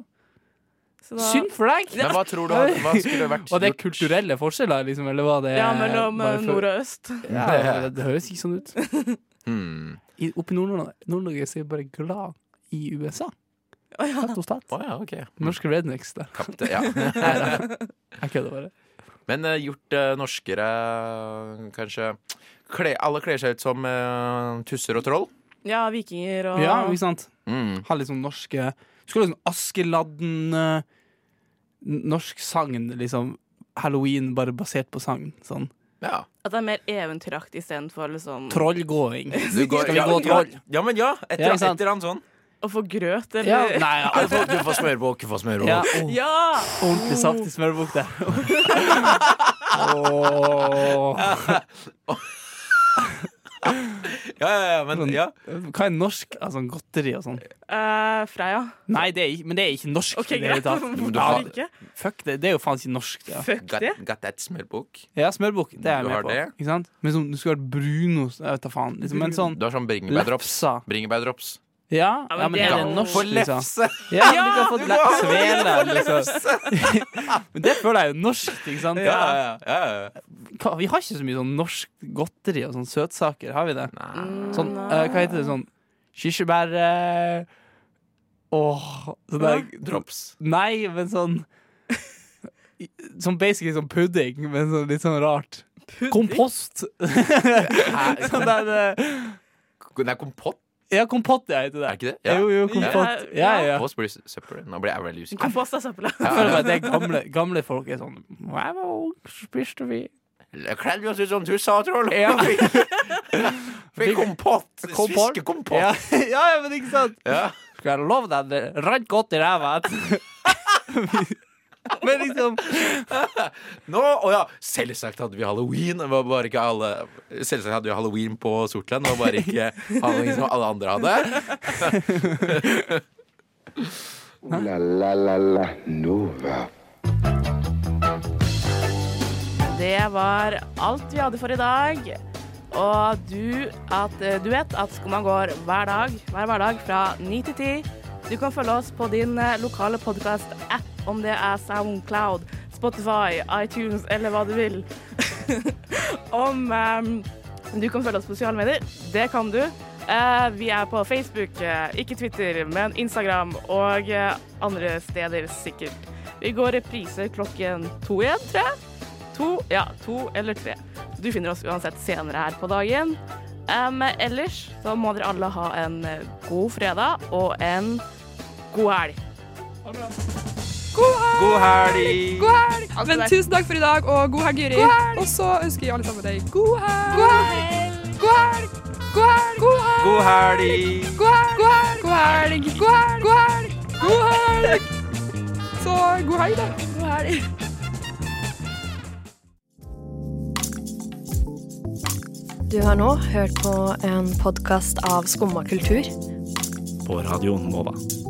S3: Så da,
S4: Synd for deg!
S5: Men hva tror du hadde- hva skulle vært
S4: Var det kulturelle forskjeller, liksom? Eller var det
S3: ja, mellom eh,
S4: bare for-
S3: nord og øst.
S4: ja, det, det høres ikke sånn ut.
S5: Hmm.
S4: I, oppe i Nord-Norge Nord-Norge så er jeg bare glad i USA. Rett og slett.
S5: Å ja, ok.
S4: Norske rednecks der.
S5: Kapte, ja.
S4: Jeg kødder bare.
S5: Men eh, gjort eh, norskere, kanskje. Kle, alle kler seg ut som eh, tusser og troll.
S3: Ja, vikinger og
S4: Ja, ikke sant?
S5: Mm.
S4: Har litt sånn norske Skulle ha sånn Askeladden eh, Norsk sagn, liksom. Halloween bare basert på sagn. Sånn.
S5: Ja.
S3: At det er mer eventyraktig istedenfor liksom
S4: Trollgåing.
S5: Du går,
S4: Skal vi gå troll?
S5: Ja, men ja. Et
S4: Ja,
S5: eller
S4: ikke sant?
S5: et eller annet sånn.
S3: å få grøt,
S4: Ja,
S3: eller
S4: nei,
S5: Du får, du får smørbok, du får smørbok.
S4: ja, åh,
S3: ja!
S4: ordentlig saftig smørbukk der. Åh.
S5: Ja, ja, ja, men ja.
S4: Sånn, Hva er norsk? Altså godteri og sånn.
S3: Eh, Freia.
S4: Nei, det er, ikke- men det er ikke norsk.
S3: OK,
S4: i det hele
S3: greit.
S4: tatt.
S5: har-
S3: Hvorfor ikke?
S4: Fuck det, det er jo faen ikke norsk. Ja,
S3: Fuck
S5: Got,
S3: det.
S5: got that smørbok.
S4: ja smørbukk, det er jeg
S5: Du
S4: med
S5: har
S4: på.
S5: det?
S4: Ikke sant? Men sånn, du skulle vært brunost, jeg vet da faen. Liksom, men sånn
S5: Du har sånn bringebærdrops.
S4: lefsa.
S5: Bringebærdrops.
S3: Ja,
S4: Ja,
S3: men
S4: ja, men
S3: det
S4: er
S3: er
S4: det
S3: jo-
S4: norsk,
S5: For
S4: liksom?
S5: lefse!
S4: Ja, du kan få
S5: må ha
S4: lefsevele. Liksom.
S5: lefse!
S4: Men det føler jeg er jo norsk, ikke sant?
S5: Ja, ja, ja. ja.
S4: Hva- Vi har ikke så mye sånn norsk godteri og sånn søtsaker, har vi det?
S5: Nei.
S4: Sånn, eh, hva heter det sånn Kirsebær eh, Åh sånn der-
S5: Drops.
S4: Nei, men sånn Sånn basically sånn pudding, men sånn litt sånn rart. Kompost! sånn der eh,
S5: Det er kompott,
S4: Ja, kompott, ja, heter det.
S5: er det ikke det? Ja.
S4: Jo, jo, kompott. Ja, ja. ja.
S5: Kompott blir søppel. Nå blir jeg veldig usikker.
S3: Kompost er søppel.
S4: Jeg føler bare at det er gamle, gamle folk er sånn Når jeg var ung, så spiste vi
S5: Kledd vi oss ut som tusser og troll.
S4: Ja.
S5: Fikk kompott.
S4: Kompott.
S5: Fiskekompott.
S4: Ja, ja, ja, men ikke sant?
S5: Ja.
S4: Skulle jeg love deg det rant godt i ræva etter Men liksom
S5: Nå, å ja, selvsagt hadde vi halloween. Det var bare ikke alle Selvsagt hadde vi halloween på Sortland. Det var bare ikke halloween som alle andre hadde.
S2: Ooh la la la la Nova.
S3: Det var alt vi hadde for i dag. Og du, at, eh, du vet at Skumma går hver dag, hver hverdag fra 9 til 10. Du kan følge oss på din eh, lokale podkast-app, om det er Soundcloud, Spotify, iTunes eller hva du vil. om eh, du kan følge oss på sosiale medier, det kan du. Eh, vi er på Facebook, eh, ikke Twitter, men Instagram og eh, andre steder sikkert. Vi går reprise klokken to igjen, tror jeg. To, ja, to eller tre. Du finner oss uansett senere her på dagen. Em, ellers så må dere alle ha en eh, god fredag og en god helg.
S10: God helg!
S5: God helg!
S10: God helg!
S6: Alt
S10: Men
S6: det der.
S10: tusen takk for i dag, og god helg, Juri. Og så ønsker vi alle sammen deg god helg!
S6: God helg! God helg! God helg! God helg!
S5: God helg!
S10: God helg! God helg! God helg! God helg! God helg! God helg! Så god helg, da. God helg.
S11: Du har nå hørt på en podkast av Skumma kultur.
S12: På radioen Nova.